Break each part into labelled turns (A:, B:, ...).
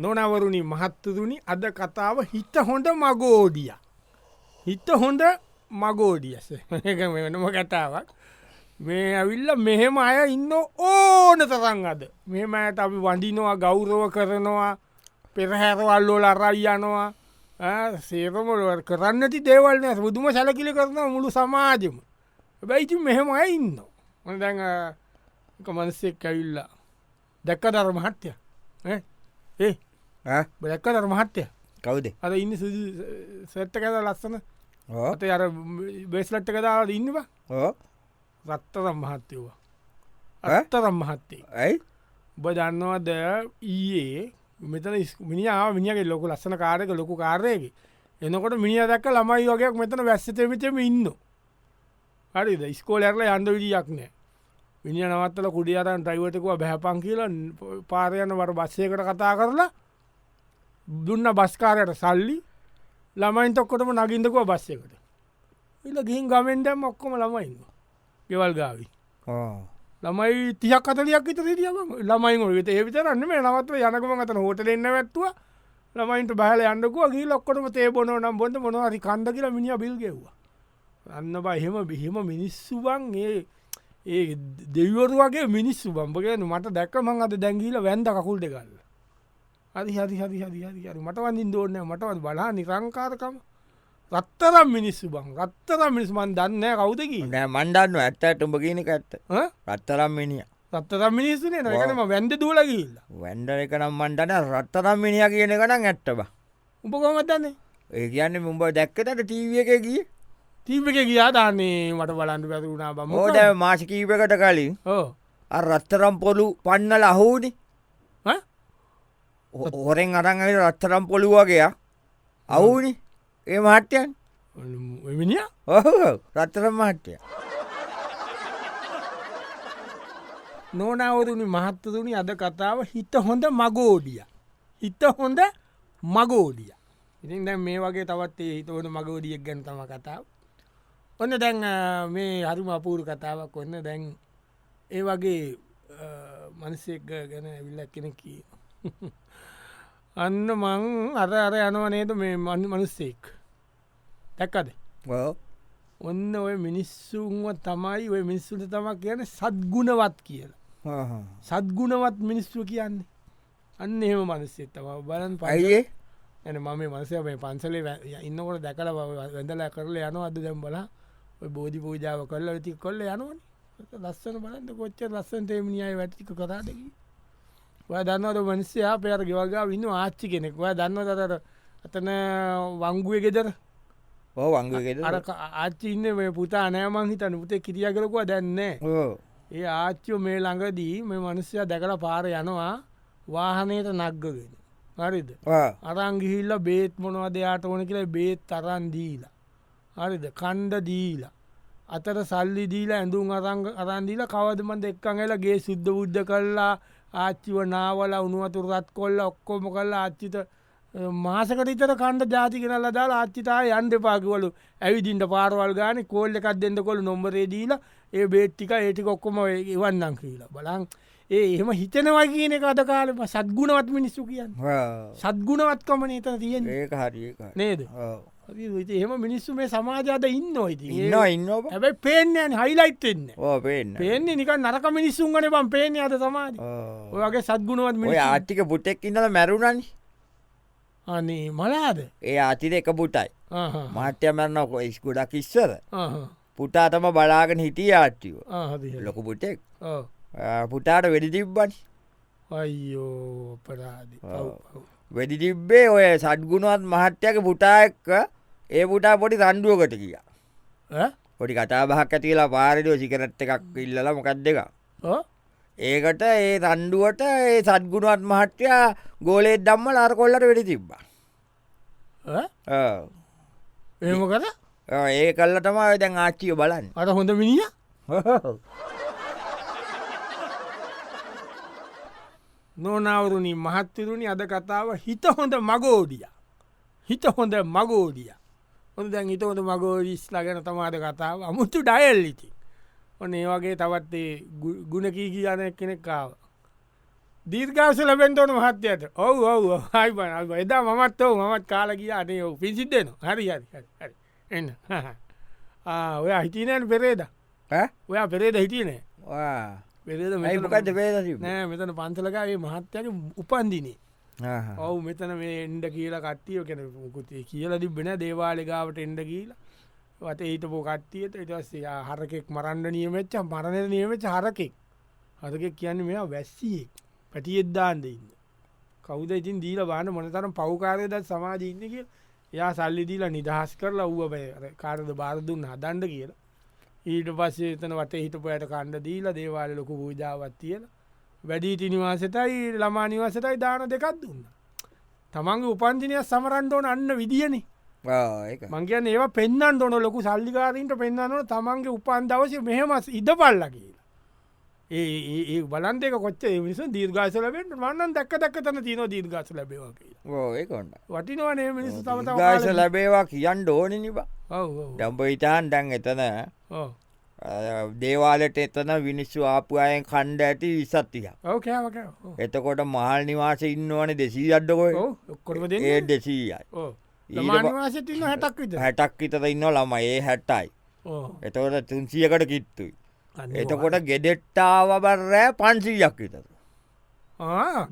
A: නොනවරුණි මහත්තතුනි අද කතාව හිත හොඳ මගෝඩිය. හිත හොඳ මගෝඩියස එක වෙනම කතාවක් මේ ඇවිල්ල මෙහෙම අය ඉන්න ඕන තරන් අද මෙම ඇයට අපි වඩිනවා ගෞරව කරනවා පෙරහැරවල්ලෝ ලරයියනවා සේරමොලව කරන්නති දේවල්න බුදුම සැලකිලි කරන මුළු සමාජම බැයිති මෙහෙම අය ඉන්න දැන් මනස්සෙක් ඇවිල්ලා දැක්ක දර මහත්තය ඒ බැක්ක දර මහත්තය
B: කවුද
A: අර ඉන්න සැට්ට කද ලස්සන අතේ අර බේස්ලට්ට කදාවට ඉන්නවා
B: ඕ
A: රත්තරම් මහත්තයවා
B: ඈ?
A: අත්තරම් මහත්තේ
B: ඇයි
A: ඔබ දන්නවද ඊයේ මෙතන මිනිාව මිනිියගේ ලොකු ලස්සන කාරයක ලොකු කාරයකි එනකොට මිනි දක් ළමයි වගේක් මෙතන වැස්සතමිතම ඉන්න හරිද ස්කෝලරල යන්ඩ විඩියක් නෑ මිනි නවත්තල කුඩියරන් ටයිවටකුව බැහපන් කියල පාරයන වර බස්සයකට කතා කරලා දුන්න බස්කාරයට සල්ලි ළමයින් තොක්කොටම නගින්දකුව බස්සයකට ඉල ගින් ගමෙන්ඩම් ඔක්කොම ළමයින්න ගෙවල් ගාවී
B: ඕ
A: ළමයි තියක් කතලයක් ඉත දිියම ළමයි ට ඒවිතරන්න මේ නවත්ව යනකම අතන හොට එන්න වැත්තුව ළමයින්ට බහල යන්නකුවගේ ලොක්කොටම තේ බොන නම් බොඳ මොනවාරි කන්ද කියලා මිනිිය බිල්ගෙව්වා අන්න බා එහෙම බිහෙම මිනිස්සුවන් ඒ ඒ දෙවරු වගේ මිනිස්සු බම්පගෙන මට දැක්කමං අද දැංගීල වැන්ද කකුල් දෙකල්ල හරි හරි හරි හරි හරි හරි මට වඳින් දෝන්න මටවත් බලා නිරංකාරකම රත්තරම් මිනිස්සු බං රත්තරම් මිනිස්මන් දන්න කවුදකි
B: නෑ මණ්ඩන්න ඇත්ත ඇටුඹ කියනක ඇත්ත රත්තරම් මිනිිය
A: රත්තරම් මිනිස්සුනේ නකනම වැන්ද දූලගල්ල
B: වැන්ඩ එක නම් මණ්ඩන රත්තරම් මිනිිය කියන කනම් ඇත්තබ
A: උප කොමතන්නේ
B: ඒ කියන්නේ මුඹ දැක්කතට ටීවිය එක කිය
A: තීපක ගියා දාන්නේ මට බලන්ඩ පැතුුණා බම
B: මෝද මාශකීපකට කලින් අර රත්තරම් පොලු පන්නල අහෝනි හොරෙන් අරන්ගෙන රත්තරම් පොළු වගේයා අවුනි ඒ මහට්‍යයන්
A: මිනිිය
B: ඔහ රත්තරම් මහට්‍යය
A: නෝනවරුණි මහත්තතුනි අද කතාව හිත හොඳ මගෝඩිය හිත හොඳ මගෝඩිය ඉතින් දැ මේ වගේ තවත් ඒ හිත හොඳ මගෝඩියක් ගැන තම කතාව ඔන්න දැන් අ, මේ හරිම අපූරු කතාවක් ඔන්න දැන් ඒ වගේ මනසෙක් ගැන ඇවිල්ලක් කෙන කිය අන්න මං අර අර යනවනේද මේ මනි මනුස්සෙක් දැක්කද ඔන්න ඔය මිනිස්සුන්ව තමයි ඔය මිනිස්සුට තමක් කියන සත්ගුණවත් කියලා සත්ගුණවත් මිනිස්සු කියන්නේ අන්න එහම මනස්සේ තම බලන් පයි
B: පයියේ
A: ඇන මම මනසය මේ පන්සලේ වැ- ය- ඉන්නකොට දැකල වැඳල කරල යන අද දැම් බලා ඔය බෝධි පූජාව කරල වෙති කොල්ල යනවන ලස්සන බලන්න කොච්ච ලස්සන් තේමනිියයි වැටික කරාදකි ඔය දන්නවද මනිස්්‍යයා පෙර ගෙවගා ඉන්න ආච්චි කෙනෙක් ඔය දන්න තර අතන වංගුව ගෙදර
B: ඕ වංගගෙද
A: අර ආච්චි ඉන්න මේ පුතා නෑමන් හිතන පුතේ කිරිය කරකුව දැන්නේ
B: ඕ
A: ඒ ආච්චෝ මේ ළඟදී මේ මනුස්සය දැකල පාර යනවා වාහනයට නග්ගගෙන හරිද අරංගිහිල්ල බේත් මොනවා දෙයාට ඕන කියල බේත් තරන් දීලා හරිද කණ්ඩ දීලා අතර සල්ලි දීලා ඇඳුම් අරංග අරන්දීල කවදමන් දෙක්කංගලගේ සිද්ධ බුද්ධ කල්ලා ආච්චිව නාවල උනුවතුරත් කොල්ල ඔක්කොම කල්ලා ආච්චිත මාසකට ඉතර කණ්ඩ ජාති කරල දා ආච්චිතා යන්ඩ පාකිවලු ඇවිදින්ට පාරවල් ගාන කෝල්ල එකක් දෙන්න කොළු නොම්බරේ දීලා ඒ බේට්ටික ඒටි කොක්කොම එවන්නන් කියලා බලන් ඒ එහෙම හිතනවා කියන එක අද කාලම සත්ගුණවත් මිනිස්සු කියන්න සත්ගුණවත්කම නේත තියෙන්
B: ඒක හරිඒ
A: නේද ඉතින් එහෙම මිනිස්සු මේ සමාජාද ඉන්න යිති
B: ඉන්න ඉන්න ඔබ?
A: හැබයි පේෙන්යන් හයිලයිට් එන්න
B: ඕ පේන්න
A: පේන්නේ නික නරක මිනිස්සුන් ගන බම් පේන අද සමාජ
B: ඕ.
A: ඔයගේ සත්ගුණවත්
B: ඔය
A: මිනි
B: ආර්ථික පුටෙක් ඉඳල මැරුණනි
A: අනේ මලාද
B: ඒ ආතිර එක පුටයි
A: ආහා.
B: මාට්‍ය මැරන කොයිස්කුඩක් ඉස්සර
A: ආහා.
B: පුටා තම බලාගෙන හිටිය ආට්ටිව
A: ආහරි.
B: ලොකු පුටෙක්
A: ඔව්.
B: පුටාට වෙඩි තිබ්බනි
A: අයියෝ පරාදි
B: ඔව්. වෙඩි තිබ්බේ ඔය සඩ්ගුණුවත් මහත්්‍යයක පුටා එක්ක ඒ පුටා පොඩි රණ්ඩුවකට කිය පොඩි කතාබහක් ඇතිලා පාරිඩෝ සිකරට් එකක් ඉල්ලලා මොකක් දෙක ඒකට ඒ රණ්ඩුවට ඒ සද්ගුණුවත් මහට්‍යයා ගෝලේ දම්ම ලාර කොල්ලට වෙඩි තිබ්බා ඔව්.
A: එම කර
B: ඔව්, ඒ කල්ල තමයි දැන් ආච්චිය බලන්න
A: අට හොඳ මිනිිය නොනවරුණි මහත්තරුණි අද කතාව හිත හොඳ මගෝඩිය හිත හොඳ මගෝඩිය හොඳ දැන් හිත හොඳ මගෝඩිස්ලා ගැන තමාද කතාව අමුතු ඩයල්ලිති ඔන්න ඒ වගේ තවත් ඒ ගු- ගුණ කී කියන කෙනෙක්කාව දීර්ගාස ලබෙන්ටෝන මහත්්‍යයට ඔව ඔව හයි බන එදා මත් ඔව මත් කාල කියාට ඔ පිසිද්දන හරි හරි හරි එන්න ඔය හිටීනයට පෙරේද ඔයා පෙරේද හිටියනේ පෙරේද මෙතන-
B: මොකක්ද පේදසි
A: නෑ මෙතන පන්සලකාගේ මහත්තයට උපන්දිනේ ඔවු මෙතන මේ එන්ඩ කියලා කට්ටිය කෙන කුතේ කියලා තිබෙන දේවාලෙගාවට එන්ඩ කියලා වත ඊට පෝ කට්ටියට එටස්සේ හරකෙක් මරන්ඩ නියමච්ච මරණය නියමච හරකෙක් හරකෙක් කියන්න මෙයා වැස්සියෙක් පැටියෙද්දාන්ද ඉන්න කවුද ඉතින් දීල බාන මොනතරම් පව්කාරයදත් සමාජීන්න කිය එයා සල්ලි දීලා නිදහස් කරලා ව්ව පය කාරද බාරදුන්න හදන්ඩ කියලා ඊට පස්සේ එතන වට හිටපොයට කණ්ඩ දීලා දේවාල ලොකු පූජාවත් කියලා වැඩීටි නිවාසටයි ළමා නිවාසටයි දාන දෙකක් දුන්න. තමන්ගේ උපන්දිනය සමරන්ඩෝන අන්න විදිියනේ මංගේන ඒවා පෙන්න්න ඕොන ලොකු සල්ලිකාරීන්ට පෙන්න්නන තමන්ගේ උපන් දවස මෙහෙමස් ඉඩ පල්ල කියලා. ඒ- ඒ ඒ බලන් දෙක කොච්ච මිනිස දීර්ගාසලබෙන් මන්නන් දක් දක් තන තින දීර්ගාස ලබේවා කියලා
B: ඒකොන්න
A: වටිනවනේ මිනිස
B: ගාස
A: තවත
B: ලැබේවා කියන්න ඕන නිබා ඩම්බ ඉතාන් ඩන් එතන අ, දේවාලට එතන විනිස්සු ආපු අයෙන් කණ්ඩ ඇති විසත්තිය
A: ඕකෑ
B: එතකොට මහල් නිවාස ඉන්නවන දෙසී අඩ්ඩකොයි
A: ඔක්කොටම
B: ඒ
A: දෙ
B: දෙසීයි ඊට ප-
A: මානවාසතින්න හැටක් විත
B: හැටක් විතර ඉන්න ළම ඒ හැට්ටයි එතකොට තුන්සියකට කිත්තුයි එතකොට ගෙඩෙට්ටාවබරෑ පන්සීයක් විතර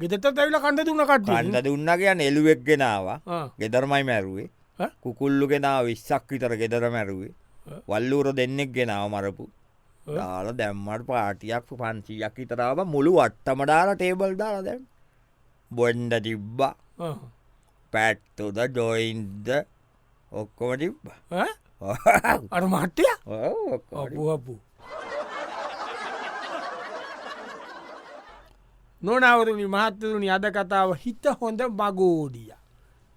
A: ගෙතත් ඇවිල කණඩ දුන්න
B: කණ්ඩ
A: කට
B: දුන්න කියන්න එළුවෙක් ගෙනවා ගෙදරමයි මැරුවේ
A: ඈ?
B: කුකුල්ලු ගෙනා විස්සක් විතර ගෙදර මැරුවේ
A: ඈ?
B: වල්ලූර දෙන්නෙක් ගෙනාව මරපු
A: ඈ?
B: දාල දැම්මට පාටියක් පන්සීයක් විතරාව මුළු වට්ටමඩාල ටේබල් දාල දැන් බොන්්ඩ තිබ්බා පැට්තුද ජොයින්ද ඔක්කොම තිබ්බ
A: අර මට්ටය අපපු නොනවරුණි මහත්තරුණි අද කතාව හිත හොඳ බගෝඩිය.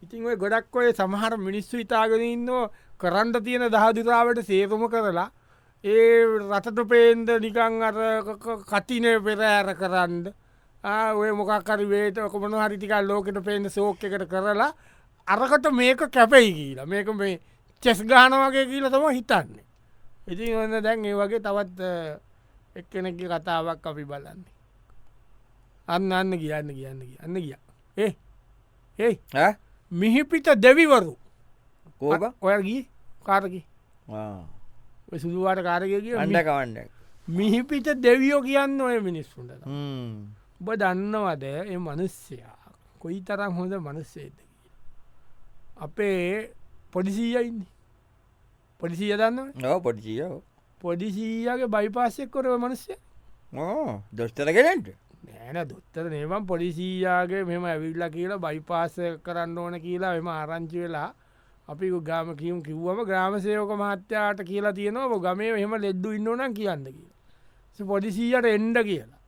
A: ඉතින් ඔය ගොඩක් ඔය සමහර මිනිස්සු ඉතාගෙන ඉන්නෝ කරන්ට තියෙන දහදුරාවට සේතුම කරලා ඒ රටට පේන්ද නිකං අර ක- ක- කතිනය පෙරෑර කරන්න ආ, ඔය මොකක්කරි වේට කොමන හරිතිකල් ලෝකට පේන්න සෝක එකට කරලා අරකට මේක කැපයි කියලා මේක මේ චෙස් ගාන වගේ කියලා තම හිතන්නේ. ඉතින් ඔන්න දැන් ඒ වගේ තවත් එක්කෙනෙක් කතාවක් අපි බලන්නේ අන්න අන්න කියන්න කියන්න කියන්න කිය ඒ ඒ මිහිපිට දෙවිවරු
B: කෝක
A: ඔයගී කාරකි සුදුවාට කාරකය කිය
B: අඩකවන්න
A: මිහිපිට දෙවියෝ කියන්න ඔය මිනිස්සුන්ට උබ දන්නවද ඒ මනුස්්‍යයා කොයි තරම් හොඳ මනුස්සේද කියලා. අපේ පොඩිසීයයින්න පොඩිසිය දන්න
B: නෝ පොඩිසිියෝ
A: පොඩිසීයගේ බයිපාසෙක් කොරව මනුස්්‍යය
B: දොස්තර කෙනෙන්ට
A: නෑන දොත්තර නේවන් පොලිසියාගේ මෙම ඇවිල්ල කියලා බයිපාස කරන්න ඕන කියලා එම ආරංචි වෙලා අපි ගාම කියම් කිව්වම ග්‍රාමසයෝක මහත්‍යාට කියලා තියෙනවා ගමේ මෙම ලෙඩ්ඩු ඉන්නවනම් කියන්න කියලා පොඩිසීයට එන්ඩ කියලා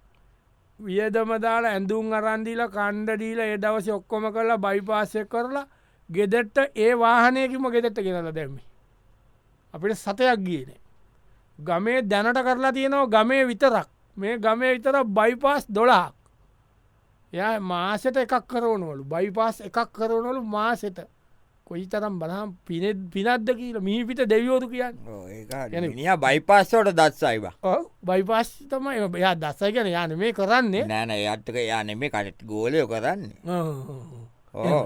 A: වියදම දාලා ඇඳුම් අරන්දිීල කණ්ඩඩීල ඒ දවස ඔක්කොම කරලා බයිපාසය කරලා ගෙදෙට්ට ඒ වාහනයකිම ගෙදෙට්ට කියනල දැම්මි අපිට සතයක් ගියනේ ගමේ දැනට කරලා තියෙනවා ගමේ විතරක් මේ ගමේ විතර බයිපාස් දොලාක් ය මාසට එකක් කරවනවලු බයිපාස් එකක් කරවනොලු මාසෙත කොයි තරම් බලහම් පිනෙත් පිනත්ද කියලා මිහිපිට දෙවියෝතු කියන්න කෙනෙක්.
B: නිය බයිපස්සෝට දත්සයිවා
A: බයිපාස් තම එයා දස්සයි කියන යන මේ කරන්නේ
B: නෑන අත්තක යාන මේ කටත් ගෝලයෝ කරන්න ඕ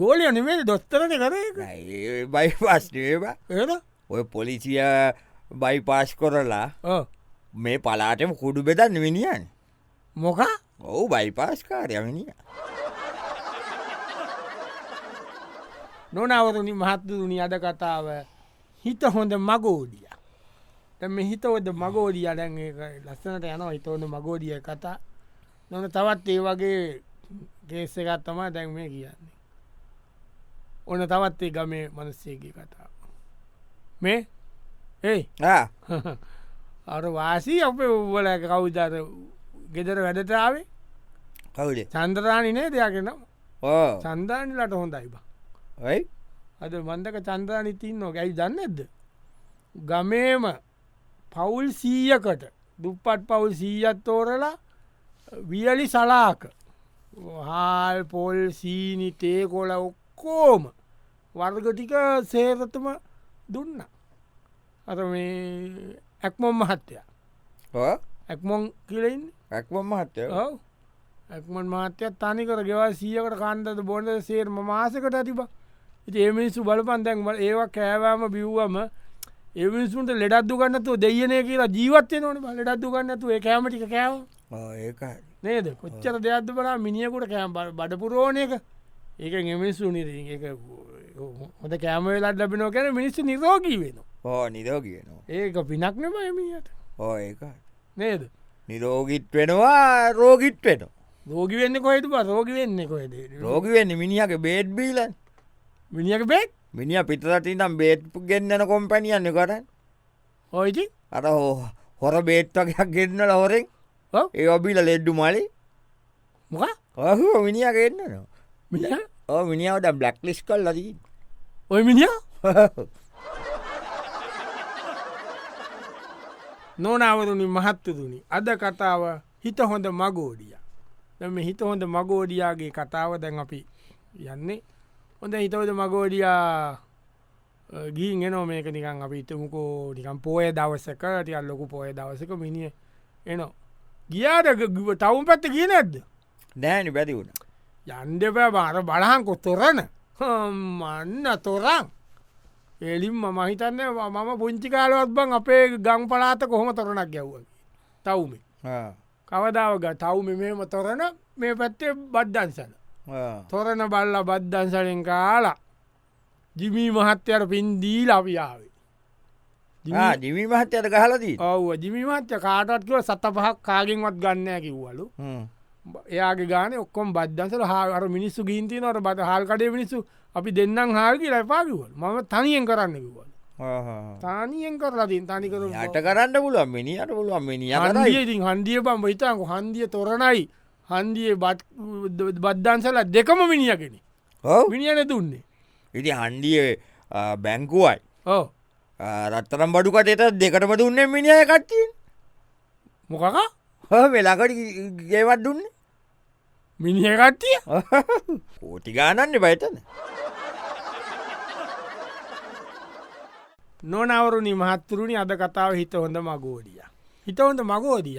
A: ගෝලය නෙමේ දොස්තරන කරේ
B: බයිපස්ටේවා
A: එන
B: ඔය පොලිසිය බයිපාස් කොරලා මේ පලාටම කුඩු බෙදන්න විනිියන්
A: මොක
B: ඔවු බයිපාස්කාරයමිනිිය
A: නොනවරනි මහත්තුරුණි අද කතාව හිත හොඳ මගෝඩිය තැම හිතවද මගෝඩිය දැන් ඒක ලස්සනට යන හිතවන මගෝඩිය කතා නොන තවත් ඒ වගේ ගේස්ස එකත් තමා දැන් මේ කියන්නේ ඕන තවත් ඒ ගමේ මනස්සේගේ කතාව මේ ඒ අර වාසී අපේ උබල කවුදර ගෙදර වැඩටාවේ
B: කවුඩ
A: චන්ද්‍රානිනේ දෙයක්ෙන
B: ඕ
A: සන්ධානිලට හොඳයි බා
B: ඔයි
A: අද මන්දක චන්ද්‍රානිතින් නොකැයි දන්න ඇද ගමේම පවුල් සීයකට දුප්පත් පවුල් සීයත් තෝරලා වියලි සලාක හාල් පොල් සීනි තේකොල ඔක්කෝම වර්ගටික සේරතම දුන්න අත මේ ඇක්මොම් මහත්තයා
B: ඕ
A: ඇක්මොන් කියලයින්න
B: රැක්වම් මහත්තය
A: ඔව් ඇක්මන් මාත්‍යයක් තනිකර ගෙවල් සියකට කන්දද බොඩ සේර්ම මාසකට ඇතිබ ඒමිනිස්සු බලපන් දැන්වල ඒවා කෑවෑම බිව්වම ඒවිනිසුන්ට ලෙඩක්දු ගන්නතු දෙයනය කියලා ජීවත්තය නොන ලෙඩක්දු ගන්නතු ඒ කෑමටික කෑව
B: ඒකයි
A: නේද කොච්චර දෙයක්ද බලා මිනිියකුට කෑම් බඩපුරෝණයක ඒක එමිනිස්සු නිර හොද කෑමවෙලට ලබිනෝ කැන මිනිස්සු නිරෝගී වෙන
B: ඕ නිරෝ කියනවා
A: ඒක පිනක්න බයමියට
B: ඕ ඒකයි
A: නේද
B: නිරෝගිත් වෙනවා රෝගිත් වෙන
A: රෝගි වෙන්න කොහෙතු ප රෝගි වෙන්න කොහෙද
B: රෝගිවෙන්න මිනිියක බේඩ් බීලන්
A: මිනිියක බෙක්
B: මිනිිය පිටරටනම් බේට්පු ගෙන්න්නන කොම්පැනියන්න කරන්න
A: හෝයිති
B: අර හෝ හොර බේට්ටකයක් ගෙන්න්න ලහොරෙන්
A: ඔව්.
B: ඒ ඔබිල ලෙඩ්ඩු මලි
A: මොක
B: ඔහු මිනිියක එන්නනවා
A: මිනි
B: ඕ මිනිියාවට බ්ලක් ලිස් කල් ලදී
A: ඔය මිනිිය නොනවරුණි මහත්තතුනි අද කතාව හිත හොඳ මගෝඩිය මෙම හිත හොඳ මගෝඩියයාගේ කතාව දැන් අපි යන්නේ හොඳ හිතවද මගෝඩියා ගී එනෝ මේක නිකන් අපි ඉතමුකෝ නිකම් පෝය දවසක ටියල් ලොකු පොය දවසක මිනිිය එනෝ ගියාට ග- තවුන් පැත්ත කිය නැද්ද
B: නෑනි බැති වුණ
A: යන්ඩපෑ බාර බලහන්කො තොරන මන්න තොරන් එලින් මහිතන්න මම පුංචි කාලවත් බං අපේ ගං පලාත කොහොම තොරණක් ගැව්ව තවුමේ කවදාවග තවුම මෙම තොරණ මේ පැත්තේ බද්ධන්සන තොරණ බල්ල බද්ධන්සලෙන් කාලා ජිමී මහත්තයට පින්දී ලවියාවේ
B: ජිවී මහත්තයට ගහලදී
A: ඔව ජිමිමත්්‍ය කාටත්ව සත පහක් කාගෙන්වත් ගන්නය කිව්වලු එයාගේ ගාන ඔක්කොම් බද්ධන්සල හාර මිනිස්සු ගීන්තිනවට බට හල්කඩේ මිනිස්සු අපි දෙන්නම් හාල්කි ලැපාකිවල් මම තනියෙන් කරන්න කිවල් තානියෙන් කරලතින් තනිකර
B: යට කරන්න පුළුවන් මිනිියට පුළුවන් මිනිිය කරයි
A: ඉතින් හන්දිය පම් හිතක හන්දිය තොරණයි හන්දිය බද්ධන්සල දෙකම මිනිියකෙන
B: ඔව්
A: මිනිියන තුන්නේ
B: ඉති හන්ඩිය බැංකුවයි
A: ඕ
B: ආ, රත්තරම් බඩුකට එත දෙකටම දුන්නේ මිනිිය කට්ටින්
A: මොකක
B: වෙලාකට ගේවත් දුන්න
A: මිනිිය කට්ටිය
B: කෝටි ගානන්න බයිතන
A: නොනවරුණි මහත්තුරුණි අද කතාව හිත හොඳ මගෝඩිය. හිත හොඳ මගෝදිය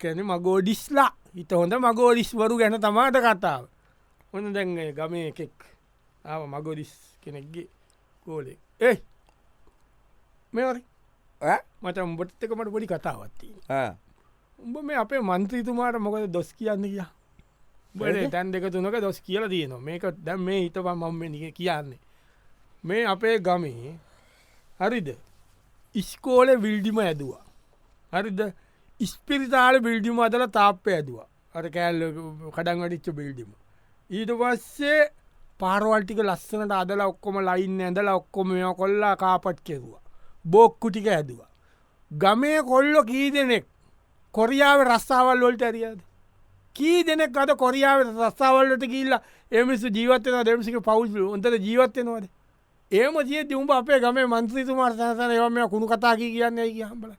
A: කැන මගෝඩිස්ලා හිත හොඳ මගෝඩිස්වරු ගැන තමාට කතාව. හොඳ දැන් ඒ ගමේ එකෙක් ආව මගෝඩිස් කෙනෙක්ගේ කෝලෙක් ඒ මෙරි මට උඹට එකමට පොඩි කතාවත්තිී. උඹ මේ අපේ මන්ත්‍රීතුමාට මොකද දොස් කියන්න කියා බල
B: මොකද?
A: තැන් දෙක තුනක දොස් කියල තියනවා මේක දැම් මේ හිතවා මම නික කියන්නේ මේ අපේ ගමේ හරිද ඉස්කෝල විල්ඩිම ඇදවා හරිද ඉස්පිරිතාල බිල්ඩිම අදල තාප්පය ඇදවා අර කෑල්ල කඩංවැටිච්ච බිල්ඩිම ඊට පස්සේ පාරවල්ටික ලස්සනට අදල ඔක්කොම ලයින් ඇඳල ඔක්කොම මෙ කොල්ලා කාපට් කෙරවා බෝක්කුටික ඇදවා ගමේ කොල්ලො කී දෙනෙක් කොරියාව රස්සාවල් වොල්ට ඇරියද කී දෙනෙක් අද කොරියාව රස්සාවල්ලට කියල්ලා එමිසු ජීවතන දෙමසික පවුල් උන්ට ජීවත්වෙනවාද ඒම ජිය දුම්ඹ අපේ ගමේ මන්ත්‍රීතුමාට සසන ඒවම කුණු කතා කිය කියන්න ඇ හම්බල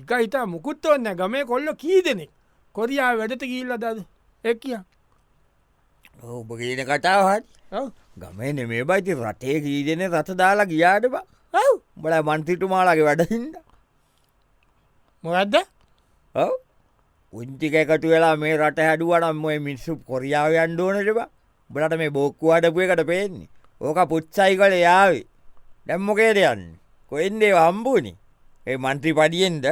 A: එක හිතා මුකුත් ඔන්න ගමේ කොල්ල කී දෙනෙක් කොරියාව වැඩට කියල්ල දද එක් කිය
B: ඔබ කියන කතාවත් ගමන මේ බයිති රටේ කීදන රත දාලා ගියාට බා බල මන්තිටුමාලාගේ වැඩහින්ද
A: මොකක්ද
B: ඔව උංචික එකතු වෙලා මේ රට හැඩුවනම් ඔය මිනිස්සු කොරියාව අන්ඩෝනටබ බලට මේ බෝක්කු අඩපු එකට පේන්නේ ඕක පුච්චයි කල යාවේ දැම්මොකේට යන්න කොයින්දේ අම්බූනි ඒ මන්ත්‍රී පඩියෙන්ද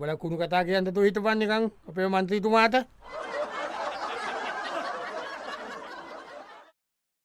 A: බල කුණු කතා කියන්නතු හිට පන්නකං අපේ මන්ත්‍රීතුමාට